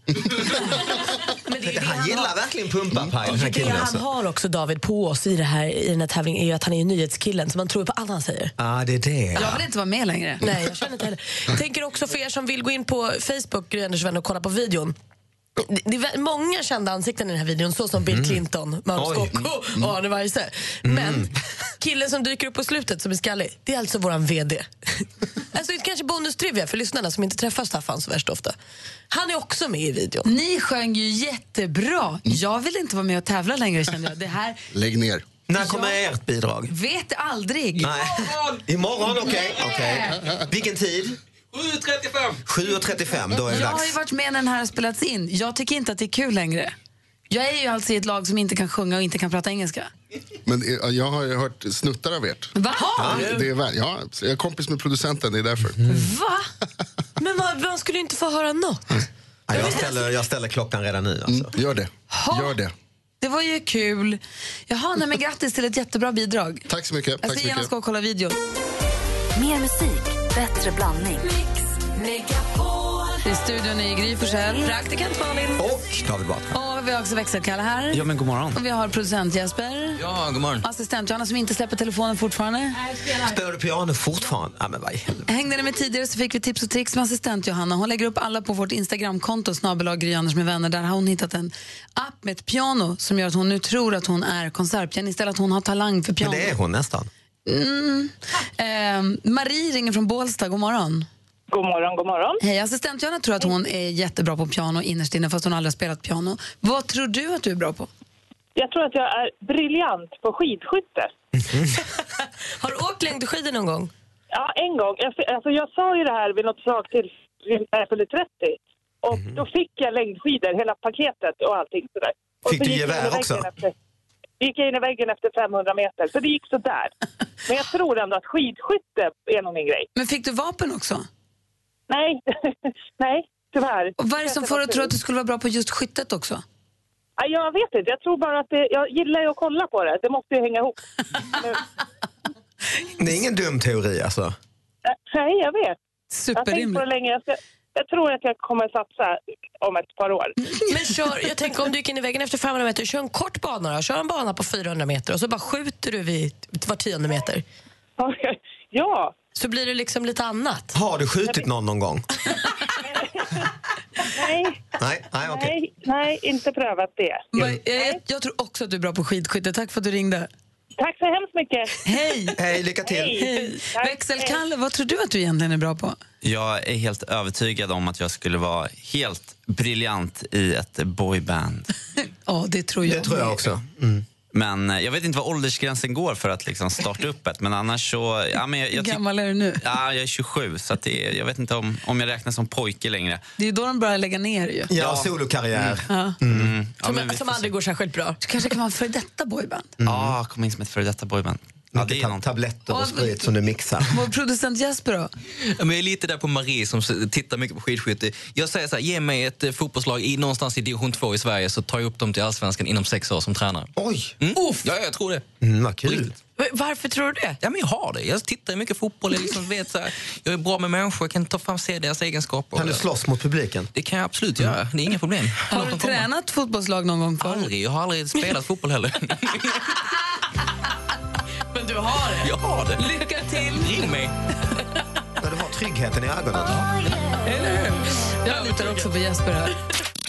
han gillar verkligen pumpapaj den här Det killen han alltså. har också David på oss i, det här, i den här tävlingen är ju att han är ju nyhetskillen så man tror ju på allt han säger. Ja, det är det. Jag vill inte vara med längre. Nej, jag känner inte heller. Tänker också för er som vill gå in på Facebook, Gry Anders vänner, och kolla på videon. Det- Det är vä- många kända ansikten i den här videon, så som Bill Clinton, Magnus Oj. Kocko och Arne Weise. Men killen som dyker upp på slutet som är skallig, det är alltså våran VD. alltså det är kanske bonustrivia för lyssnarna som inte träffar Staffan så värst ofta. Han är också med i videon. Ni sjöng ju jättebra. Jag vill inte vara med och tävla längre kände jag. Det här Lägg ner. När kommer ert bidrag? vet aldrig. Nej. Imorgon, okej. okej. Vilken tid? 7.35. 7.35, då är det Jag har dags. ju varit med när den här har spelats in. Jag tycker inte att det är kul längre. Jag är ju alltså i ett lag som inte kan sjunga och inte kan prata engelska. Men eh, jag har ju hört snuttar av ert. Va? Ja, det är väl, ja, så jag är kompis med producenten, det är därför. Mm. Va? [laughs] Men man, man skulle inte få höra något. Ja, jag, ställer, jag ställer klockan redan nu. Alltså. Mm, Gör det. Gör det. Det var ju kul. Jaha, nej, men grattis till ett jättebra bidrag. Tack så mycket. Jag Tack ska så gärna mycket. ska och kolla videon. Mer musik, bättre blandning. I studion är Gry Forssell. Mm. Praktikant Malin. Och David Batra. Och vi har också växelkalle här. Ja, men god morgon. Och vi har producent Jesper. Ja, god morgon. Assistent Johanna som inte släpper telefonen fortfarande. Spelar du piano fortfarande? Ja, men vad i helvete. Hängde ni med tidigare så fick vi tips och tricks med assistent Johanna. Hon lägger upp alla på vårt Instagramkonto, snabel-a Gry Anders med vänner. Där har hon hittat en app med ett piano som gör att hon nu tror att hon är konsertpianist eller att hon har talang för Men piano. det är hon nästan. Mm. Eh, Marie ringer från Bålsta. God morgon. God morgon, god morgon. Hej, assistent Johanna tror att hon är jättebra på piano innerst inne fast hon aldrig har spelat piano. Vad tror du att du är bra på? Jag tror att jag är briljant på skidskytte. Har du åkt längdskidor någon gång? Ja, en gång. Jag- Alltså, jag sa ju det här vid något sak till när jag fyllde 30. Och då fick jag längdskidor, hela paketet och allting sådär. Och Fick så du gick jag in i gevär väggen också? Efter, gick jag in i väggen efter 500 meter, så det gick sådär. Men jag tror ändå att skidskytte är nog min grej. Men fick du vapen också? Nej, [laughs] nej, tyvärr. Och vad är det som får dig att tro att du skulle vara bra på just skyttet också? Ja, Jag vet inte, jag tror bara att det, jag gillar ju att kolla på det. Det måste ju hänga ihop. Men, Det är ingen dum teori alltså. Äh, Nej, jag vet. Jag har tänkt på Superrimligt. det länge. Jag, ska, jag tror att jag kommer satsa om ett par år. Men kör, jag tänker om du gick in i väggen efter 500 meter, kör en kort bana då. Kör en bana på 400 meter och så bara skjuter du vid var tionde meter. ja. Så blir det liksom lite annat. Har du skjutit någon någon gång? Nej, Nej, nej okej. nej, nej, inte prövat det. Jag, jag tror också att du är bra på skidskytte. Tack för att du ringde. Tack så hemskt mycket. Hej! Hej, lycka till. Hej. Växelkalle, vad tror du att du egentligen är bra på? Jag är helt övertygad om att jag skulle vara helt briljant i ett boyband. Ja, det tror jag. Men eh, jag vet inte vad åldersgränsen går för att liksom starta upp ett. Men annars så... Ja, men jag, Hur jag, tyck- gammal är du nu? ja, jag är 27, så att det, är- jag vet inte om, om jag räknas som pojke längre. Det är ju då de börjar lägga ner ju. solokarriär. Ja. Mm. Ja, men vi, Som aldrig går särskilt bra. Du kanske kan vara en före detta boyband. ah, kom in som ett före detta boyband. Ja, det är någon... tabletter och sprit som du mixar. Vår producent Jesper då? Ja, men jag är lite där på Marie som s- tittar mycket på skidskytte. Jag säger så här, ge mig ett eh, fotbollslag i, någonstans i division 2 i Sverige så tar jag upp dem till allsvenskan inom sex år som tränare. Oj! Mm. Ja, jag tror det. Mm, vad kul. Varför tror du det? Ja, men jag har det. Jag tittar ju mycket fotboll. Jag, liksom vet, så här, jag är bra med människor, jag kan ta fram se deras egenskaper. Kan du slåss mot publiken? Det kan jag absolut göra. Det är inga problem. Har du tränat fotbollslag någon gång förut? Aldrig. Jag har aldrig spelat fotboll heller. Men du har det? Jag har det. Lycka till! [laughs] Ring mig. När du har tryggheten i ögonen. Eller hur? Jag litar också på Jesper här.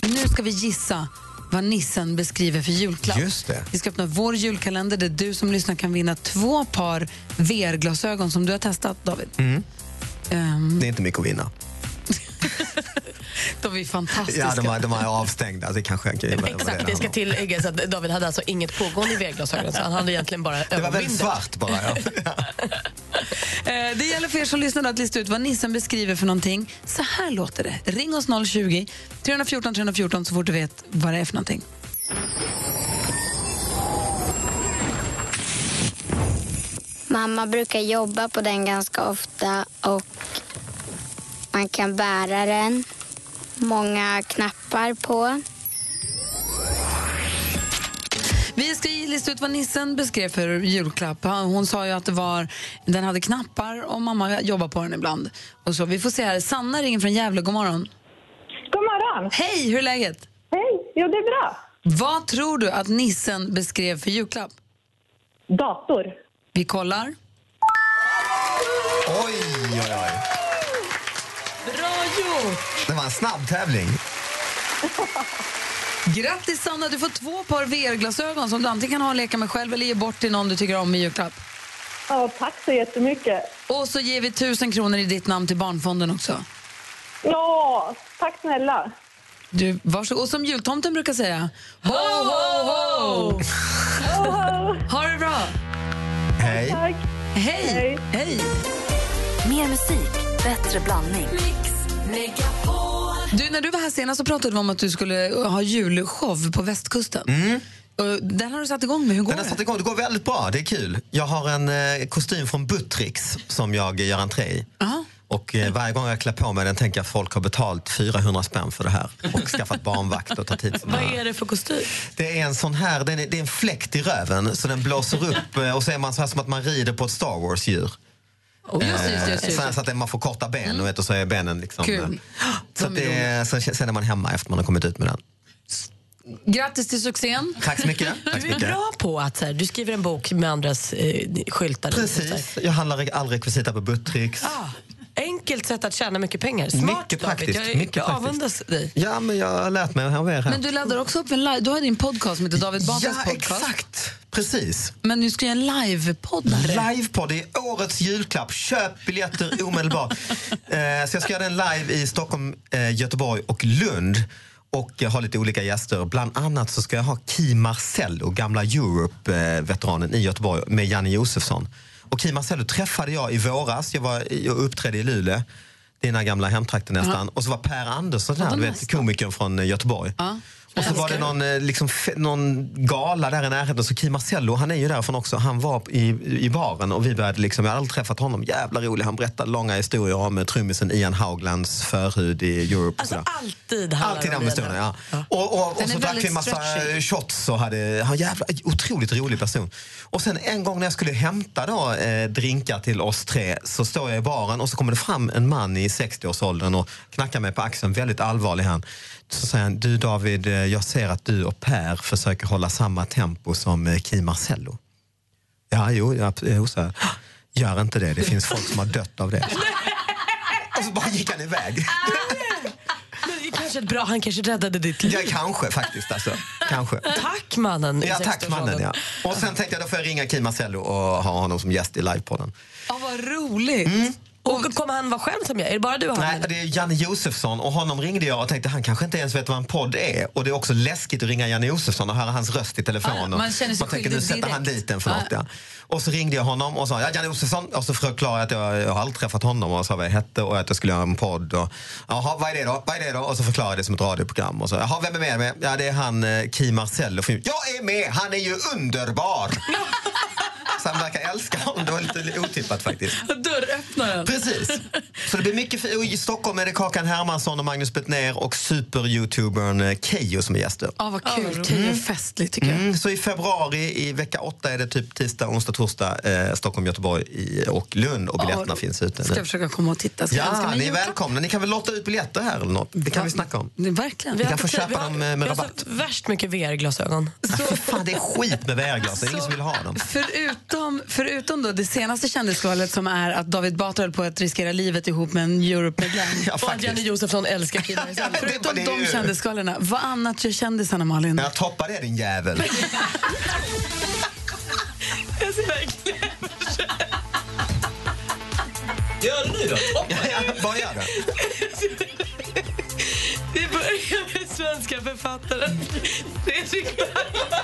Nu ska vi gissa vad nissen beskriver för julklapp. Just det. Vi ska öppna vår julkalender där du som lyssnar kan vinna två par VR-glasögon som du har testat, David. Mm. Ehm, Det är inte mycket att vinna. de är fantastiska. Ja, de, är, de är avstängda. Alltså, Det kanske jag kan ge mig Exakt, det ska tilläggas att David hade alltså inget pågående i VR-glasögonen så han hade egentligen bara Det var väldigt ögonbindel. svart bara. Ja. Eh, Det gäller för er som lyssnar då att lista ut vad nissen beskriver för någonting. Så här låter det. Ring oss 020-314 314 så fort du vet vad det är för någonting. Mamma brukar jobba på den ganska ofta och man kan bära den. Många knappar på. Vi ska ju lista ut vad nissen beskrev för julklapp. Han- Hon sa ju att det var, den hade knappar och mamma jobbar på den ibland. Och så, vi får se här. Sanna ringer från Gävle. God morgon. God morgon. Hej, hur är läget? Hej, jo det är bra. Vad tror du att nissen beskrev för julklapp? Dator. Vi kollar. Oj, oj, oj. Bra gjort! Det var en snabb tävling. Grattis Sanna, du får två par VR-glasögon som du antingen kan ha och leka med själv eller ge bort till någon du tycker om i julklapp. Ja, tack så jättemycket. Och så ger vi tusen kronor i ditt namn till Barnfonden också. Ja, tack snälla. Du, varsågod. Och som jultomten brukar säga, ho, ho, ho! Oh. ha det bra! Hej. Tack. Hej. Hej. Mer musik, bättre blandning. Du, när du var här senast så pratade vi om att du skulle eh, ha julshow på västkusten. Och Den har du satt igång med. Hur går Mm. Den har det? satt igång. Det går väldigt bra. Det är kul. Jag har en eh, kostym från Buttricks som jag gör eh, entré i. Och eh, varje gång jag klär på mig den tänker jag att folk har betalt 400 spänn för det här och skaffat barnvakt och tagit hit såna Vad här. är det för kostym? Det är en sån här, den är, det är en fläkt i röven så den [laughs] blåser upp eh, och så är man så här som att man rider på ett Star Wars-djur. Oh, just det, just det, Eh, just det. Mm. så här Så att man får korta ben och, vet, och så är benen liksom... Kul. eh, Så att det, sen, sen är man hemma efter man har kommit ut med den. Grattis till succén. Tack så mycket. Tack så [laughs] Du är mycket. bra på att så här, du skriver en bok med andras eh, skyltar. Precis. Jag handlar all rekvisita på Buttricks. Ah, enkelt sätt att tjäna mycket pengar. Smart, mycket David. praktiskt. Jag, är- mycket jag praktiskt. avundas dig. Ja, men jag har lärt mig av er här. Men du laddar också upp en live... Du har din podcast som heter David Batras Ja, podcast. exakt. Precis. Men nu ska jag göra en livepodd. Livepodd, det är årets julklapp. Köp biljetter omedelbart. eh, så jag ska göra den live i Stockholm, eh, Göteborg och Lund. Och jag har lite olika gäster. Bland annat så ska jag ha Ki Marcello, gamla Europe-veteranen i Göteborg med Janne Josefsson. Och Ki Marcello träffade jag i våras. Jag, var, jag uppträdde i Luleå, dina gamla hemtrakter nästan. Och så var Per Andersson där, du vet, komikern från eh, Göteborg. Och så var det någon, eh, liksom, fe- någon gala där i närheten. Så Kim Marcello, han är ju därifrån också. Han var i, i baren och vi började liksom, jag hade aldrig träffat honom. Jävla rolig. Han berättade långa historier om eh, trummisen Ian Hauglands förhud i Europe. och sådär. Alltid handlar Alltid om den det. historien, ja. Och, Den och, och är så drack vi väldigt en massa eh, stretchy. shots och hade, han jävla, otroligt rolig person. Och sen en gång när jag skulle hämta då, eh, drinkar till oss tre så står jag i baren och så kommer det fram en man i 60-årsåldern och knackar mig på axeln, väldigt allvarlig han. Så säger han, du David, eh, jag ser att du och Per försöker hålla samma tempo som eh, Kim Marcello. Ja, jo, ja, jo så här. Gör inte det, det finns folk som har dött [laughs] av det. Och så Alltså, bara gick han iväg. Men det är kanske ett bra, han kanske räddade ditt liv. Ja, kanske faktiskt alltså. Kanske. Tack mannen. i Ja, tack 60-årsåldern. mannen. Ja. Och sen tänkte jag, då får jag ringa Kim Marcello och ha honom som gäst i livepodden. Ja, vad roligt. Och kommer han vara själv som jag? Är det bara du och han? Mm. Nej, det är Janne Josefsson och honom ringde jag och tänkte han kanske inte ens vet vad en podd är. Och det är också läskigt att ringa Janne Josefsson och höra hans röst i telefon. Ja, och man känner sig tänker skyldig nu sätter han direkt. dit den för något. Ja. Och så ringde jag honom och sa ja, Janne Josefsson och så förklarade jag att jag, jag har aldrig träffat honom och sa vad jag hette och att jag skulle göra en podd. Och, Jaha, vad är det då? Vad är det då? Och så förklarade jag det som ett radioprogram. Och så, Jaha, vem är med? med? Ja, det är han eh, Kim Marcello. Jag är med! Han är ju [laughs] underbar! Så han verkar älska honom. Det var lite otippat faktiskt. Dörröppnaren. Precis. Så det blir mycket fi- och I Stockholm är det Kakan Hermansson och Magnus Bettner och super-youtubern eh, Keyyo som är gäster. Ja, vad kul. roligt. Keyyo är festlig tycker jag. Mm, så i februari, i vecka åtta, är det typ tisdag, onsdag, torsdag eh, Stockholm, Göteborg i, och Lund och biljetterna finns ute Ska nu. jag försöka komma och titta? Ska jag önska Ja, mig ni är julklapp? välkomna. Ni kan väl lotta ut biljetter här eller något? Det kan vi snacka om. Det är Verkligen. Vi kan få köpa dem eh, med rabatt. Så värst mycket VR-glasögon. [laughs] Fan, det är skit med VR-glas. Det är ingen som vill ha dem. Förutom, förutom då det senaste kändisskvalen som är att David Batra höll på att riskera livet ihop med en Europe-medlem. och att Janne Josefsson älskar killar [laughs] i samhället. Förutom det är de ju- kändisgalorna, vad annat gör kändisarna, Malin? Jag toppar det, din jävel. [laughs] Jag ser verkligen Gör det nu då. Vad gör det? Vi börjar med svenska författaren Fredrik Backman.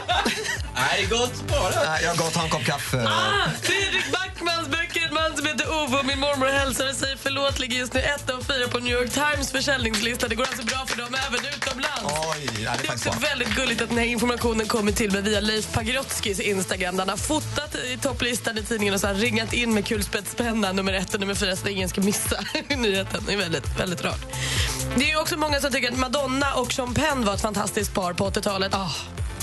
Nej, gott sparat. Jag har gått och en kopp kaffe. Ah, Fredrik Backmans böcker. En man som heter Ove och min mormor hälsade sig förlåt ligger just nu etta och fyra på New York Times försäljningslista. Det går alltså bra för dem även utomlands. Oj, ja, det är Det är faktiskt också bra. typ väldigt gulligt att den här informationen kommer till mig via Leif Pagrotskys Instagram där han har fotat i topplistan i tidningen och så har han ringat in med kulspetspenna nummer ett och nummer fyra så att ingen ska missa [laughs] nyheten. Det är väldigt, väldigt rart. Det är ju också många som tycker att Madonna och Sean Penn var ett fantastiskt par på 80-talet.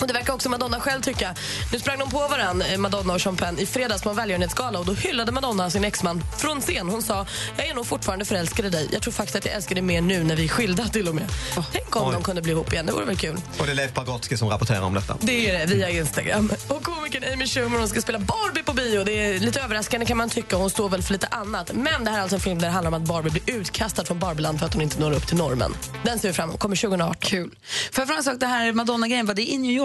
Och Det verkar också Madonna själv tycka. Nu sprang de på varann, eh, Madonna och Sean Penn, i fredags på en välgörenhetsgala och då hyllade Madonna sin exman från scen. Hon sa, jag är nog fortfarande förälskad i dig. Jag tror faktiskt att jag älskar dig mer nu när vi är skilda till och med. Tänk om Oj. de kunde bli ihop igen, det vore väl kul. Och det är Leif Pagrotsky som rapporterar om detta. Det är det, via Instagram. Och komikern Amy Schumer hon ska spela Barbie på bio. Det är lite överraskande kan man tycka. Hon står väl för lite annat. Men det här är alltså en film där det handlar om att Barbie blir utkastad från Barbieland för att hon inte når upp till normen. Den ser vi fram emot. Kommer 2018. Kul. Får jag fråga en sak, det här Madonna-grejen, var det i New York?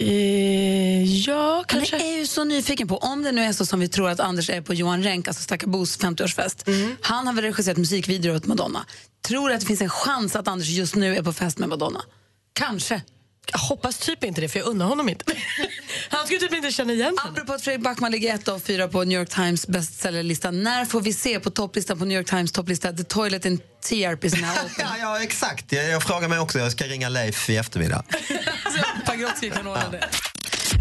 Eh, ja, kanske. Jag är ju så nyfiken på, om det nu är så som vi tror att Anders är på Johan Renck, alltså Stakka Bos 50-årsfest. Mm. Han har väl regisserat musikvideor åt Madonna. Tror du att det finns en chans att Anders just nu är på fest med Madonna? Kanske. Jag hoppas typ inte det, för jag undrar honom inte. [laughs] Han skulle typ inte känna igen henne. Apropå att Fredrik Backman ligger ett av fyra på New York Times bästsäljarlista. När får vi se på topplistan på New York Times topplista The Toilet in TRP [laughs] som är open? Ja, ja, Alltså, exakt. Jag, jag frågar mig också. Jag ska ringa Leif i eftermiddag. Pagrotsky kan ordna det.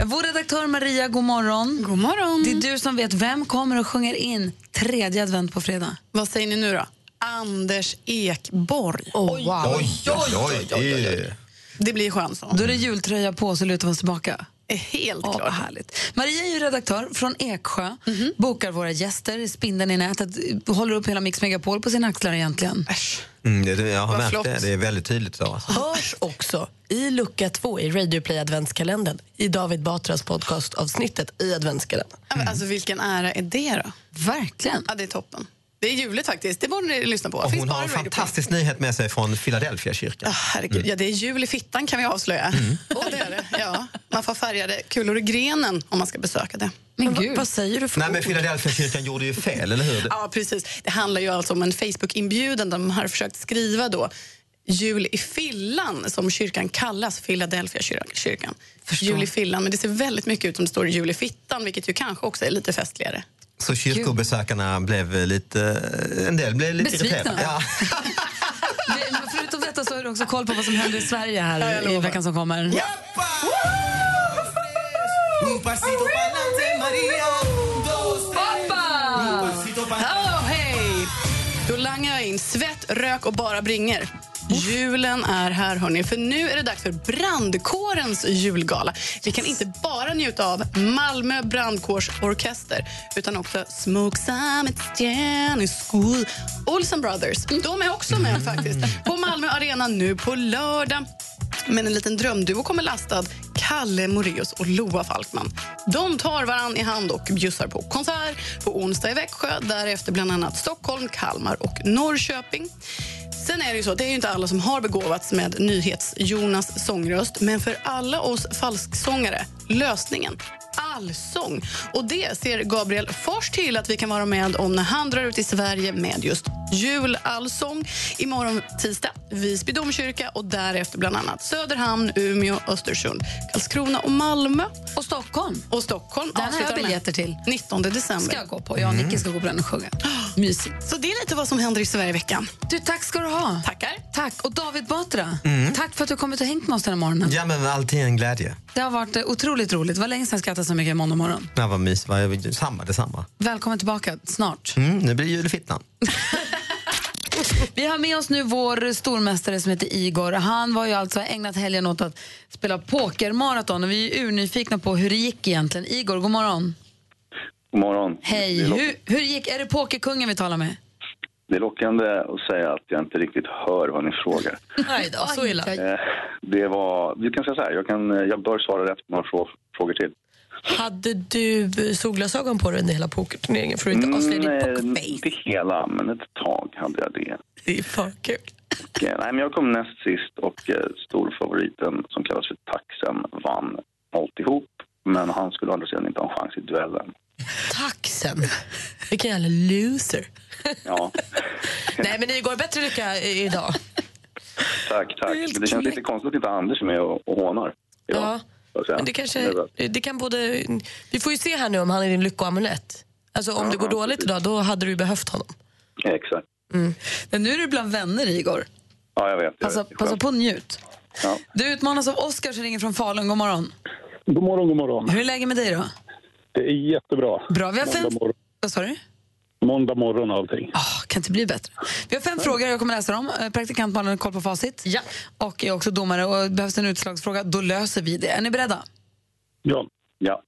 Vår redaktör Maria, god morgon. God morgon. Det är du som vet, vem kommer och sjunger in tredje advent på fredag? Vad säger ni nu då? Anders Ekborg. Oh, wow. Det blir chansen. Då är det jultröja på så lutar vi oss tillbaka. Helt Åh, vad härligt. Maria är ju redaktör från Eksjö, Mhm. bokar våra gäster, spindeln i nätet, eh, håller upp hela Mix Megapol på sina axlar egentligen. Mm, det- det, jag har Vad märkt flott. det. Det är väldigt tydligt idag. Alltså. Hörs också i lucka två i Radio Play adventskalendern i David Batras podcastavsnittet i adventskalendern. Ja, men Alltså, vilken ära är det då? Verkligen. Ja, det är toppen. Det är juligt faktiskt. Det borde ni lyssna på. Och Finns hon bara har en i Radio Play. fantastisk nyhet med sig från Philadelphia kyrka. Herregud, ja, det är jul i fittan kan vi avslöja. Mm. [laughs] Ja, det är det. Ja, man får färgade kulor i grenen om man ska besöka det. Men gud. Vad säger du för Nej, men ord? Philadelphia kyrkan gjorde ju fel, eller hur? Ja, precis. Det handlar ju alltså om en Facebook-inbjudan där de har försökt skriva då Jul i Fillan, som kyrkan kallas, Philadelphia kyr- kyrkan. Jul i Fillan, men det ser väldigt mycket ut som det står Jul i Fittan, vilket ju kanske också är lite festligare. Så kyrkobesökarna blev lite... En del blev lite Besvikna. irriterade. Ja. Vi- [laughs] men Förutom detta så har du också koll på vad som händer i Sverige här i veckan som kommer. Un pasito pa'lante, María. Dos, tres. Un pasito pa'lante. Oh, hej! Då langar jag in svett, rök och bara bringer. Julen är här, hörni, för nu är det dags för brandkårens julgala. Vi kan inte bara njuta av Malmö brandkårsorkester utan också Smoke Summit, Jenny School, Olsen Brothers. De är också med faktiskt på Malmö Arena nu på lördag. Men en liten drömduo kommer lastad, Kalle Moreus och Loa Falkman. De tar varann i hand och bjussar på konsert på onsdag i Växjö, därefter bland annat Stockholm, Kalmar och Norrköping. Sen är det ju så att det är ju inte alla som har begåvats med Nyhets-Jonas sångröst, men för alla oss falsksångare, lösningen allsång. Och det ser Gabriel Fors till att vi kan vara med om när han drar ut i Sverige med just julallsång. Imorgon tisdag, Visby domkyrka och därefter bland annat Söderhamn, Umeå, Östersund, Karlskrona och Malmö. Och Stockholm. Och Stockholm Den har jag avslutar med biljetter till. 19 december. Ska jag gå på. Jag och Nicky ska gå på den [gasps] och sjunga. Mysigt. Så det är lite vad som händer i Sverige i veckan. Du, tack ska du ha. Tackar. Tack. Och David Batra, Mm. tack för att du kommit och hängt med oss den här morgonen. ja, men alltid en glädje. Det har varit eh, otroligt roligt. Det var länge sedan jag skrattade så mycket i måndag morgon. Ja, vad mys, vad, samma, detsamma. Välkommen tillbaka snart. Mm, nu blir det julfittan. Vi har med oss nu vår stormästare som heter Igor. Han var ju alltså ägnat helgen åt att spela pokermaraton och vi är ju urnyfikna på hur det gick egentligen. Igor, god morgon. God morgon. Hej. Det är, lock- Hur, hur gick Är det pokerkungen vi talar med? det är lockande att säga att jag inte riktigt hör vad ni frågar. Nej då, så illa. Eh, Det var, vi kan säga så här, jag, kan, jag bör svara rätt på några frå, frågor till. Hade du solglasögon på dig under hela pokerturneringen för att inte avslöja ditt Mm, pocket? eh, inte hela, men ett tag hade jag det. Det är fan kul. Och, eh, Nej, men jag kom näst sist och eh, storfavoriten som kallas för Taxen vann alltihop. Men han skulle å andra sidan inte ha en chans i duellen. Taxen. Vilken jävla loser. [laughs] Ja, Nej, men Igor, bättre lycka i- idag. tack, tack. Men det känns lite konstigt att inte Anders är med och, och hånar. Ja. får jag säga. Men det kanske, Nervös. det kan både, vi får ju se här nu om han är din lyckoamulett. Alltså om det går Ja, dåligt idag, då hade du ju behövt honom. Exakt. Men nu är du bland vänner, Igor. Ja, jag vet. Jag Passa, vet. Det är passa skönt. på och njut. Ja. Du utmanas av Oskar som ringer från Falun. God morgon. God morgon, god morgon. Hur är läget med dig då? Det är jättebra. Bra, vi har fem- Måndag morgon, Vad sa du? Ah. måndag morgon och allting. Kan inte bli bättre. Vi har fem frågor, jag kommer läsa dem. Eh, Praktikant Malin har koll på facit. Ja. Och är också domare. Och behövs det en utslagsfråga, då löser vi det. Är ni beredda? Ja. Ja.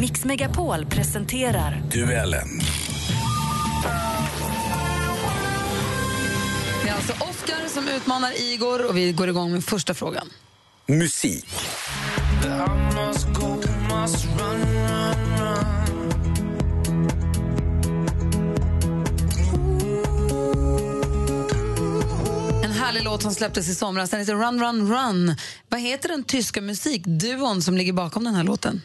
Mix Megapol presenterar Duellen. Det är alltså Oskar som utmanar Igor och vi går igång med första frågan. Musik. En härlig låt som släpptes i somras. Den heter Run, run, run. Vad heter den tyska musikduon som ligger bakom den här låten?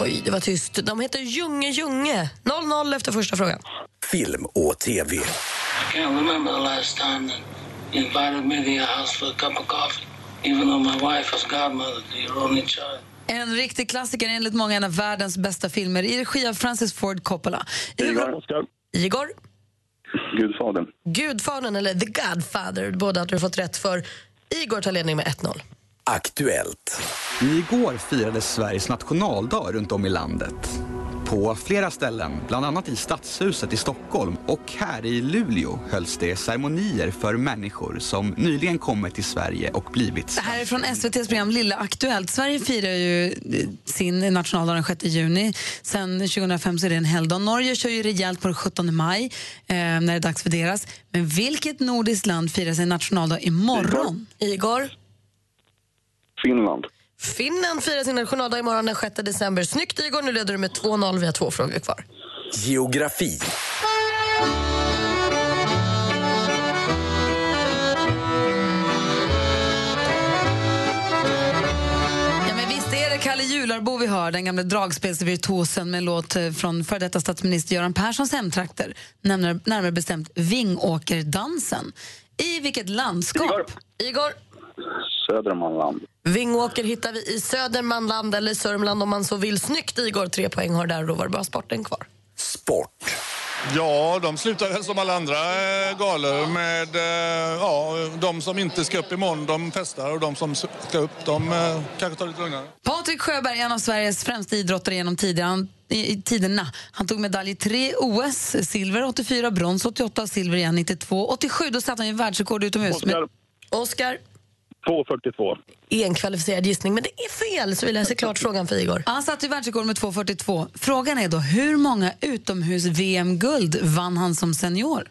Oj, det var tyst. De heter Junge Junge. 0-0 efter första frågan. Film och tv. Can't remember the last time that you invited me to your house for a cup of coffee, even though my wife was godmother to your only child. En riktig klassiker, enligt många en av världens bästa filmer i regi av Francis Ford Coppola. Igor. Igor, Gudfadern. Gudfadern eller The Godfather, båda hade du fått rätt för. Igor tar ledning med 1-0. Aktuellt. Igår firades Sveriges nationaldag runt om i landet. På flera ställen, bland annat i Stadshuset i Stockholm och här i Luleå hölls det ceremonier för människor som nyligen kommit till Sverige och blivit Det här är från SVTs program Lilla Aktuellt. Sverige firar ju eh, sin nationaldag den 6 juni. Sen 2005 så är det en helgdag. Norge kör ju rejält på den 17 maj eh, när det är dags för deras. Men vilket nordiskt land firar sin nationaldag imorgon? Igor? Finland. Finland firar sin nationaldag imorgon den 6 december. Snyggt Igor, nu leder du med 2-0. Vi har två frågor kvar. Geografi. Ja, men visst är det Kalle Jularbo vi hör, den gamla dragspelsvirtuosen med en låt eh, från före detta statsminister Göran Perssons hemtrakter, närmare, närmare bestämt Vingåkerdansen. I vilket landskap? Igor? Södermanland. Vingåker hittar vi i Södermanland eller Sörmland om man så vill. Snyggt Igor, tre poäng har där och då var det bara sporten kvar. Sport. Ja, de slutar väl som alla andra eh, galor med... eh, Ja, de som inte ska upp imorgon, de festar och de som ska upp, de eh, kanske tar lite lugnare. Patrik Sjöberg, en av Sveriges främsta idrottare genom tider- han- i- i tiderna. Han tog medalj i tre OS, silver 84, brons 88, silver igen 92. 87 då satte han ju världsrekord utomhus. Oscar. Oscar? 2.42. En kvalificerad gissning, men det är fel så vi läser klart frågan för Igor. Han satte ju världsrekord med 2.42. Frågan är då, hur många utomhus-VM-guld vann han som senior?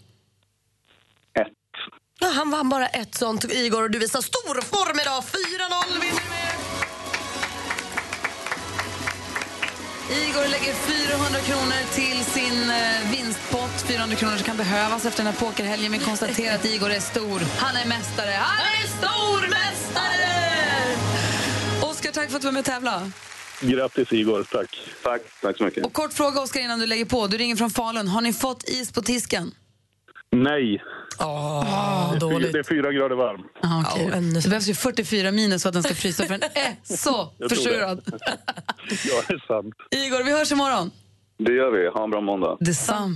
Ja, han vann bara ett sånt Igor och du visar stor form idag. 4-0 vinner Igor lägger 400 kronor till sin eh, vinstpott. 400 kronor som kan behövas efter den här pokerhelgen. Vi konstaterar att Igor är stor. Han är mästare. Han är stormästare! Oskar, tack för att du var med och tävlade. Grattis Igor, tack. Tack. Tack så mycket. Och kort fråga, Oskar, innan du lägger på. Du ringer från Falun. Har ni fått is på tisken? Nej. Oh, dåligt. Det är fyra grader varmt. Ah, okay. Det behövs ju 44 minus för att den ska frysa, för den [laughs] är så Jag tror försurad. Ja, [laughs] det är sant. Igor, vi hörs imorgon. Det gör vi. Ha en bra måndag. Detsamma.